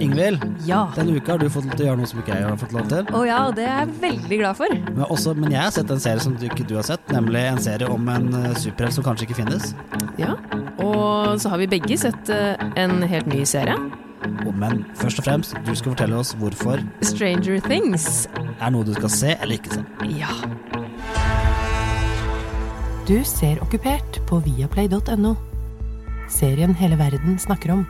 Ingvild, Ja. denne uka har du fått lov til å gjøre noe som ikke jeg har fått lov til. Å ja, og det er jeg veldig glad for. Men, også, men jeg har sett en serie som du ikke du har sett, nemlig en serie om en eh, superhelt som kanskje ikke finnes. Ja. Og så har vi begge sett eh, en helt ny serie. Og- Men først og fremst, du skal fortelle oss hvorfor Stranger Things. er noe du skal se eller ikke se. Ja. Du ser Okkupert på viaplay.no. Serien hele verden snakker om.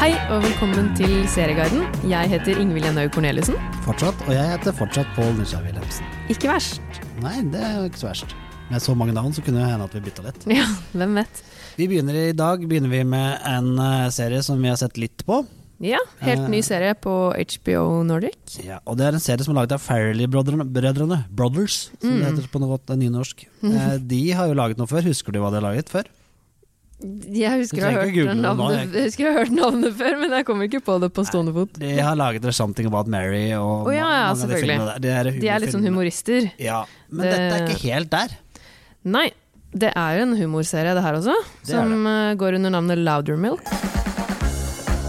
Hei og velkommen til Serieguiden. Jeg heter Ingvild Jenhaug Corneliussen. Fortsatt, og jeg heter fortsatt Pål Nisja Wilhelmsen. Ikke verst. Nei, det er jo ikke så verst. Med så mange navn så kunne det hende at vi bytta litt. Ja, hvem vet. Vi begynner I dag begynner vi med en eh, serie som vi har sett litt på. Ja, helt Eh. ny serie på HBO Nordic. Ja, og Det er en serie som er laget av Farrelly-brødrene. Brothers, som det heter på noe godt eh, nynorsk. Eh, De har jo laget noe før. Husker du hva de har laget før? Jeg husker jeg har Du trenger ikke hørt google det nå, navnet, jeg. jeg husker jeg har hørt navnet før, men jeg kommer ikke på det på stående fot. De har laget There's Something About Mary og Å, ja, ja, mange av de selvfølgelig. filmene der. Det er De er litt sånn humorfilmer. humorister. Ja, men Det- dette er ikke helt der. Nei, det er jo en humorserie det her også, Det er som eh, går under navnet Loudermilk.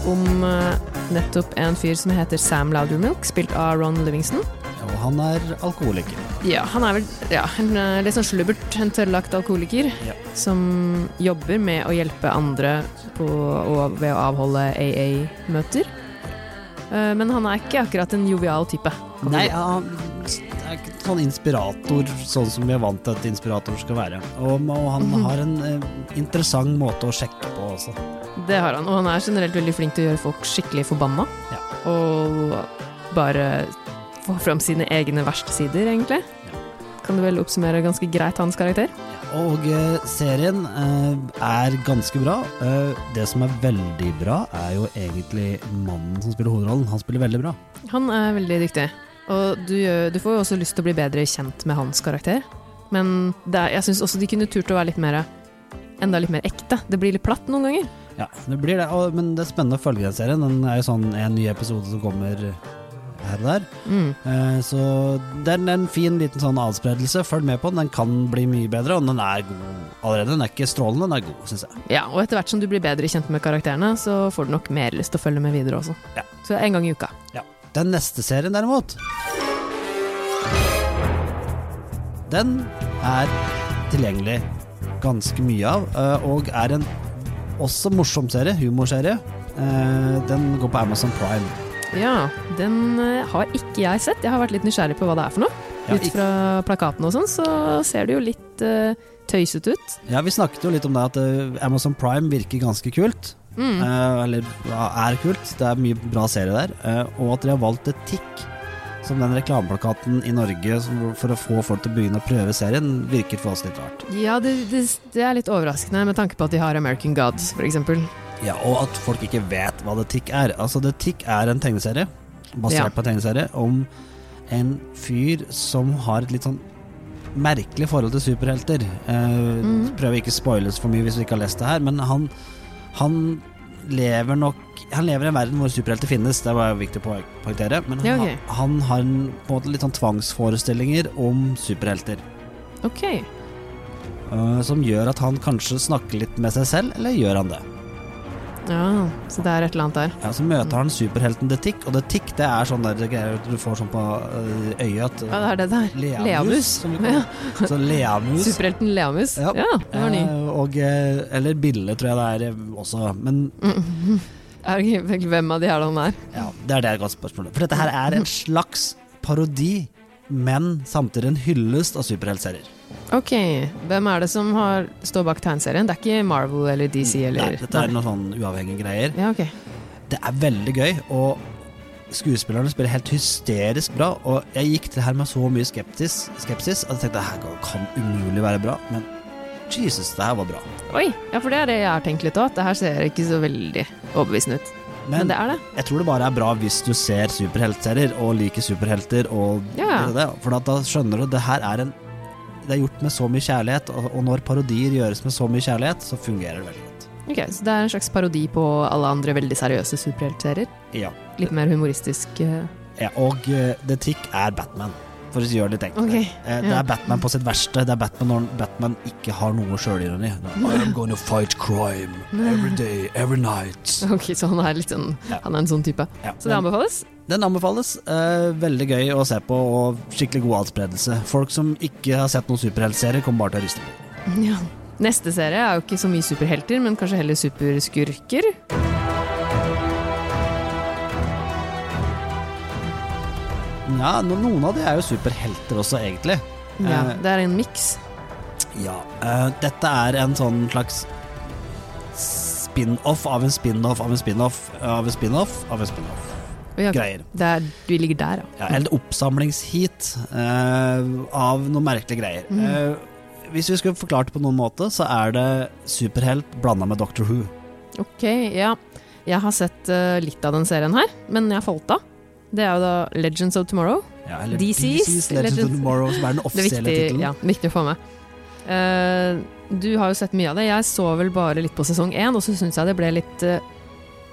Om eh, nettopp en fyr som heter Sam Loudermilk, spilt av Ron Livingston. Og han er alkoholiker. Ja, han er vel ja, en eh, litt sånn slubbert, en tørrlagt alkoholiker Ja. som jobber med å hjelpe andre på, og ved å avholde AA-møter. Eh, Men han er ikke akkurat en jovial type. kan vi Nei, si. han er ikke sånn inspirator, sånn som vi er vant til at inspirator skal være. Og, og han Mhm. har en eh, interessant måte å sjekke på også. Det har han, og han er generelt veldig flink til å gjøre folk skikkelig forbanna. Ja. Og bare få fram sine egne verste sider, egentlig. Kan du vel oppsummere ganske greit hans karakter? Og eh, serien eh, er ganske bra. Eh, det som er veldig bra, er jo egentlig mannen som spiller hovedrollen. Han spiller veldig bra. Han er veldig dyktig, og du, gjør- du får jo også lyst til å bli bedre kjent med hans karakter. Men det er, jeg syns også de kunne turt å være litt mer Enda litt mer ekte. Det blir litt platt noen ganger. Ja, det blir det. Og, men det er spennende å følge den serien. Den er jo sånn en ny episode som kommer her og der. Mm. Eh, Så det er en fin liten sånn adspredelse. Følg med på den. Den kan bli mye bedre, og den er god allerede. Den er ikke strålende, den er god, syns jeg. Ja, og etter hvert som du blir bedre kjent med karakterene, så får du nok mer lyst til å følge med videre også. Ja. Så en gang i uka. Ja. Den neste serien, derimot Den er tilgjengelig ganske mye av, eh, og er en også morsom serie, humorserie. Eh, Den går på Amazon Prime. Ja, den eh, har ikke jeg sett. Jeg har vært litt nysgjerrig på hva det er for noe. Ja, Ut fra plakaten og sånn, så ser det jo litt eh, tøysete ut. Ja, Vi snakket jo litt om det at eh, Amazon Prime virker ganske kult. Mm. Eh, eller ja, er kult. Det er mye bra serie der. Eh, og at de har valgt etikk som den reklameplakaten i Norge som, for å få folk til å begynne å prøve serien, virker for oss litt rart. Ja, det, det, det er litt overraskende med tanke på at de har American Gods, for eksempel. Ja, Og at folk ikke vet hva The Tick er. Altså, The Tick er en tegneserie, basert Ja. på en tegneserie, om en fyr som har et litt sånn merkelig forhold til superhelter. Eh, Mhm. Prøver ikke å spoiles for mye hvis du ikke har lest det her, men han, han lever nok Han lever i en verden hvor superhelter finnes, det var jo viktig å poeng- poengtere. Men han, Ja, ok. har- han har en, på en måte litt sånn tvangsforestillinger om superhelter. Ok. eh, som gjør at han kanskje snakker litt med seg selv, eller gjør han det? Ja, så det er et eller annet der. Ja, Så møter han superhelten The Tick, og The Tick det er sånn der det greier du får sånn på øh, øyet at eh, Ja, det er det der. Leamus, Leamus. som vi Ja. kaller det. Så Leamus. Superhelten Leamus. Ja, det var ny. eh, Og, eh, eller Bille, tror jeg det er eh, også. Men Mm, Er det ikke- Hvem av de er det han er? ja, det er det et godt spørsmål. For dette her er en slags parodi, men samtidig en hyllest av superheltserier. Ok, hvem er det som har, står bak tegneserien? Det er ikke Marvel eller DC eller Nei, Dette er noen sånn uavhengige greier. Ja, ok. Det er veldig gøy, og skuespillerne spiller helt hysterisk bra. Og jeg gikk til det her med så mye skeptis, skepsis at jeg tenkte det her kan- kan umulig være bra. Men Jesus, det her var bra. Oi, ja, for det er det jeg har tenkt litt òg. Det her ser ikke så veldig overbevisende ut. Men, Men det er det. jeg tror det bare er bra hvis du ser superheltserier og liker superhelter. Og Ja. det, det. For at da skjønner du at det her er en Det er gjort med så mye kjærlighet, og, og når parodier gjøres med så mye kjærlighet, så fungerer det veldig godt. Ok, Så det er en slags parodi på alle andre veldig seriøse superheltserier. Ja. Litt mer humoristisk. eh. ja og eh, The Tick er Batman. for å gjøre det litt enkelt. Ok, Eh, Det ja. er Batman på sitt verste. Det er Batman når Batman ikke har noe sjølironi. I'm gonna fight crime every day, every night. Ok, Så han er, litt sånn, Ja. han er en sånn type. Ja, Så det men anbefales? den anbefales. Eh, veldig gøy å se på, og skikkelig god adspredelse. Folk som ikke har sett noen superheltserie, kommer bare til å riste på. hodet. Ja. Neste serie er jo ikke så mye superhelter, men kanskje heller superskurker. Ja, no- noen av de er jo superhelter også, egentlig. Ja, Eh, det er en miks. Ja, eh, dette er en sånn slags spin-off av en spin-off av en spin-off av en spin-off av en spin-off. Og ja, Greier. det er- Vi ligger der, Ja, eller oppsamlingsheat eh, av noen merkelige greier. Mhm. Eh, hvis vi skulle forklart det på noen måte, så er det superhelt blanda med Doctor Who. Ok, ja. Jeg har sett eh, litt av den serien her, men jeg falt av. Det er jo da Legends of Tomorrow. Ja, eller DC's DC's Legends of Legends- Tomorrow, som er den Det er offisielle viktig, tittelen. ja, viktig å få med. Eh, du har jo sett mye av det. Jeg så vel bare litt på sesong én, og så syns jeg det ble litt, eh,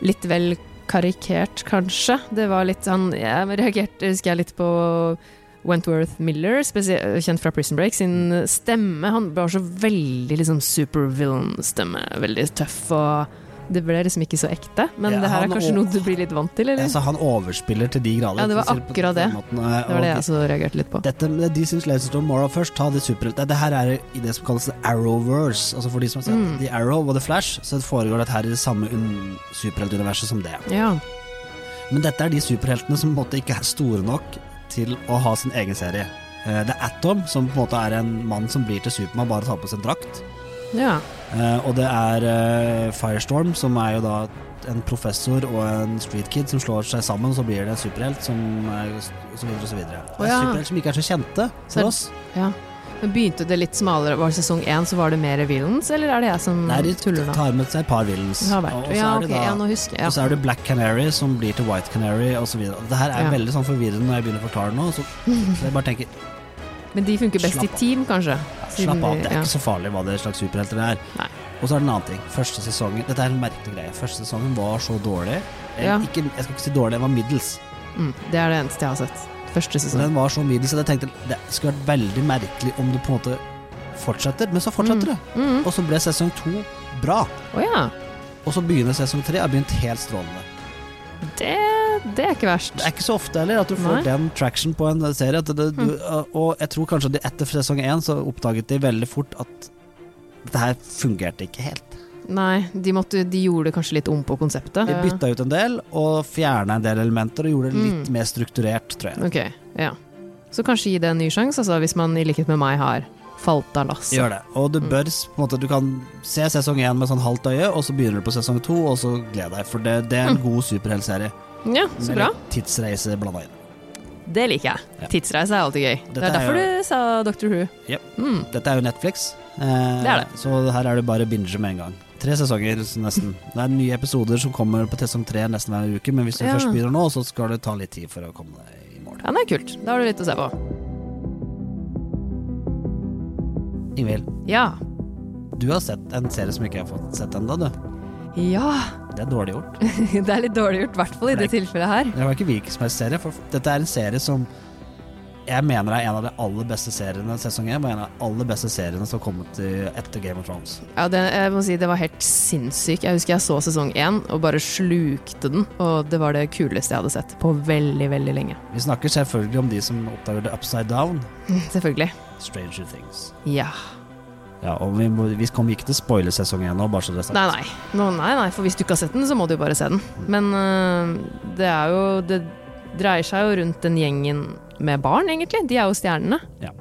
litt vel karikert, kanskje. Det var litt sånn Jeg reagerte, husker jeg, litt på Wentworth Miller, spesie- kjent fra Prison Break, sin stemme. Han var så veldig liksom supervillain-stemme. Veldig tøff og Det ble liksom ikke så ekte. Men Ja, det her er han kanskje og- noe du blir litt vant til, eller? Altså, han overspiller til de grader. Ja, det var for å si på akkurat den det. måten, eh, Det var og det altså. de- jeg også reagerte litt på. Dette med de syns Legends of Tomorrow først, ta de superheltene. Det her er i det som kalles the Arrowverse. Altså for de som har sett Mm. The Arrow og The Flash, så foregår dette her i det samme un superheltuniverset som det. Ja. Men dette er de superheltene som på en måte ikke er store nok til å ha sin egen serie. Eh, Det er Atom, som på en måte er en mann som blir til Supermann, bare tar på seg en drakt. ja. Eh, Og det er eh, Firestorm, som er jo da en professor og en streetkid som slår seg sammen, og så blir det en superhelt som er så videre og så videre. Det Å er ja. Superhelt som ikke er så kjente Så- for oss. Ja. Men begynte det litt smalere? Var det sesong én, så var det mer villains, eller er det jeg som Nei, de mm, tuller nå? tar med seg et par villains. Det har Og vært. så Ja, er det ok, da- ja, nå husker og jeg. så er det Black Canary som blir til White Canary osv. Det her er Ja. veldig sånn forvirrende når jeg begynner å forklare nå. Så så jeg bare tenker Ja. Men de funker best Slapp i av. team, kanskje? slapp av, det er ja. ikke så farlig hva det slags superhelter det er. Nei. Og så er det en annen ting. Første sesongen Dette er en merkelig greie. Første sesongen var så dårlig. Eh, Ja. Ikke, jeg skal ikke si dårlig, den var middels. Mm, det er det eneste jeg har sett. Første Så sesong. den var så middels at jeg tenkte det skulle vært veldig merkelig om det på en måte fortsetter. Men så fortsetter det. Mm. Og så ble sesong to bra. Å ja. Og så begynner sesong tre. Har begynt helt strålende. Det, det er ikke verst. Det er ikke så ofte heller at du får Nei. Mm. den traction på en serie. At det, du, Og jeg tror kanskje de etter sesong én så oppdaget de veldig fort at dette her fungerte ikke helt. Nei, de, måtte, de gjorde kanskje litt om på konseptet. De bytta ut en del og fjerna en del elementer og gjorde det litt Mm. mer strukturert, tror jeg. Ok, ja. Så kanskje gi det en ny sjanse, altså, hvis man i likhet med meg har falt av lasset. Gjør det. Og Mm. du bør s- på en måte Du kan se sesong én med sånn halvt øye, og så begynner du på sesong to, og så gled deg. For det, det er en god superheltserie. Ja, Mm. så Med bra. litt tidsreise blanda inn. Det liker jeg. Ja. Tidsreise er alltid gøy. det Dette er er derfor jo- du sa Dr. Who. Ja. Mm. Dette er jo Netflix, eh, Det er det. så her er det bare å binge med en gang. Tre sesonger så nesten. Det er nye episoder som kommer på sesong tre nesten hver uke, men hvis du Ja. først begynner nå, så skal det ta litt tid for å komme deg i mål. Ja, det er kult. Da har du litt å se på. Ingvild, Ja. du har sett en serie som ikke jeg har fått sett ennå, du. Ja, Det er dårlig gjort. det er litt dårlig gjort, i hvert fall i det tilfellet her. Det var ikke hvilken som helst serie, for dette er en serie som jeg mener er en av de aller beste seriene sesong én, og en av de aller beste seriene som har kommet i- etter Game of Thrones. Ja, det, jeg må si det var helt sinnssyk. Jeg husker jeg så sesong én og bare slukte den. Og det var det kuleste jeg hadde sett på veldig, veldig lenge. Vi snakker selvfølgelig om de som oppdager The Upside Down, Mm, Selvfølgelig. Stranger Things. Ja. Ja, og vi, må, vi kommer ikke til spoilesesong igjen nå, bare så det er sagt. Nei, nei. Nå, nei, nei. For hvis du ikke har sett den, så må du jo bare se den. Men øh, det er jo Det dreier seg jo rundt den gjengen med barn, egentlig. De er jo stjernene. Ja.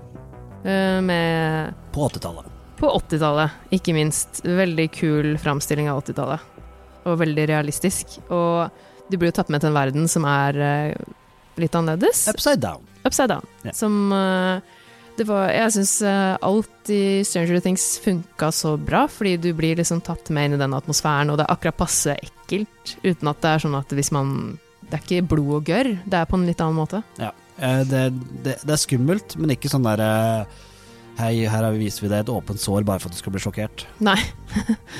Øh, med På 80-tallet. På 80-tallet, ikke minst. Veldig kul framstilling av 80-tallet. Og veldig realistisk. Og du blir jo tatt med til en verden som er eh, litt annerledes. Upside down. Upside down. Ja. Som eh, det var Jeg syns alt i Stranger Things funka så bra, fordi du blir liksom tatt med inn i den atmosfæren, og det er akkurat passe ekkelt, uten at det er sånn at hvis man Det er ikke blod og gørr, det er på en litt annen måte. Eh, Det, det, det er skummelt, men ikke sånn der eh, Hei, her har vi- viser vi deg et åpent sår bare for at du skal bli sjokkert. Nei.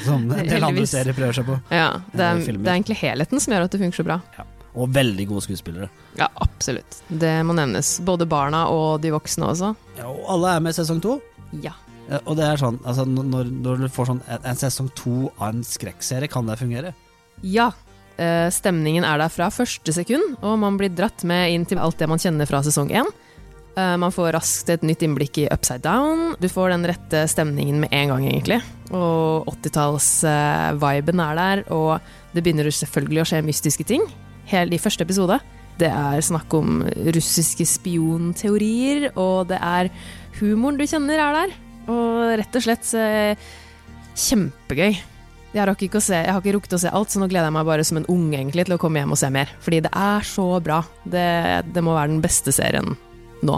Som en del andre Heldigvis. serier prøver seg på. Ja, det er, Eh, filmer. det er egentlig helheten som gjør at det funker så bra. Ja. Og veldig gode skuespillere. Ja, absolutt. Det må nevnes. Både barna og de voksne også. Ja, og alle er med i sesong to. Ja. Ja, Og det er sånn, altså n- når, når du får sånn en en sesong to av en skrekkserie, kan det fungere? Ja. Eh, stemningen er der fra første sekund, og man blir dratt med inn til alt det man kjenner fra sesong én. Eh, man får raskt et nytt innblikk i Upside Down. Du får den rette stemningen med en gang, egentlig. Og 80-talls-viben er der, og det begynner jo selvfølgelig å skje mystiske ting. Helt i første episode. Det er snakk om russiske spionteorier, og det er humoren du kjenner er der. Og rett og slett eh, kjempegøy. Jeg har, ikke å se, jeg har ikke rukket å se alt, så nå gleder jeg meg bare som en ung egentlig til å komme hjem og se mer. Fordi det er så bra. Det, det må være den beste serien nå.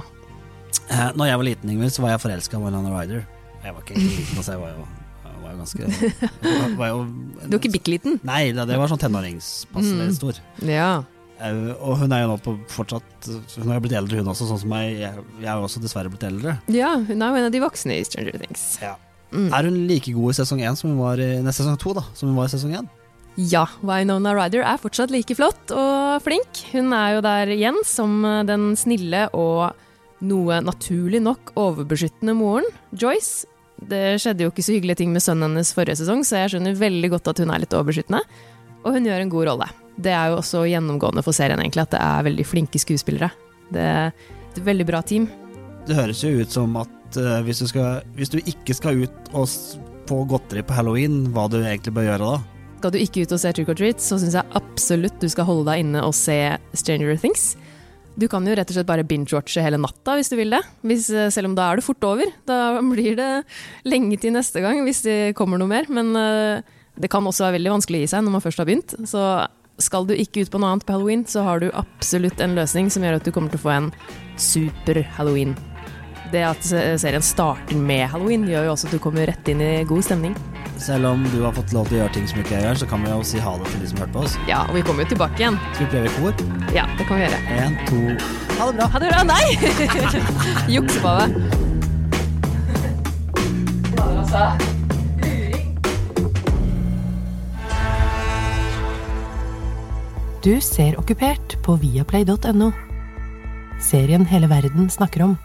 Eh, Når jeg var liten, Ingvild, så var jeg forelska i Winona Ryder. Jeg var ikke egentlig liten, altså. Jeg var jo, jeg var jo ganske jeg var jo, Du er ikke bitte liten? Nei, det, det var sånn tenåringspasselig Mm. stor. Ja. Eh, Og hun er jo nå på fortsatt Hun har blitt eldre, hun også, sånn som meg. Jeg, jeg er jo også dessverre blitt eldre. ja. Hun er jo en av de voksne i Stranger Things. Ja. Mm. Er hun like god i sesong én som hun var i Nei, sesong to, da, som hun var i sesong én? Ja, Winona Ryder er fortsatt like flott og flink. Hun er jo der igjen som eh, den snille og noe naturlig nok overbeskyttende moren, Joyce. Det skjedde jo ikke så hyggelige ting med sønnen hennes forrige sesong, så jeg skjønner veldig godt at hun er litt overbeskyttende. Og hun gjør en god rolle. Det er jo også gjennomgående for serien egentlig, at det er veldig flinke skuespillere. Det er et veldig bra team. Det høres jo ut som at eh, hvis, du skal, hvis du ikke skal ut og s- få godteri på halloween, hva du egentlig bør gjøre da? Skal du ikke ut og se Trick or Treat, så syns jeg absolutt du skal holde deg inne og se Stranger Things. Du kan jo rett og slett bare binge-watche hele natta hvis du vil det. Hvis, eh, selv om da er det fort over. Da blir det lenge til neste gang hvis det kommer noe mer. Men eh, det kan også være veldig vanskelig å gi seg når man først har begynt. Så skal du ikke ut på noe annet på halloween, så har du absolutt en løsning som gjør at du kommer til å få en super halloween. Det at eh, serien starter med halloween, gjør jo også at du kommer rett inn i god stemning. Selv om du har fått lov til å gjøre ting som ikke jeg gjør, så kan vi jo si ha det til de som hørte på oss. Ja, og vi kommer jo tilbake igjen. Skal vi prøve i kor? Ja, det kan vi gjøre. Én, to Ha det bra! Ha det bra. Nei! Juks på det. Du ser okkupert på viaplay.no. Serien hele verden snakker om.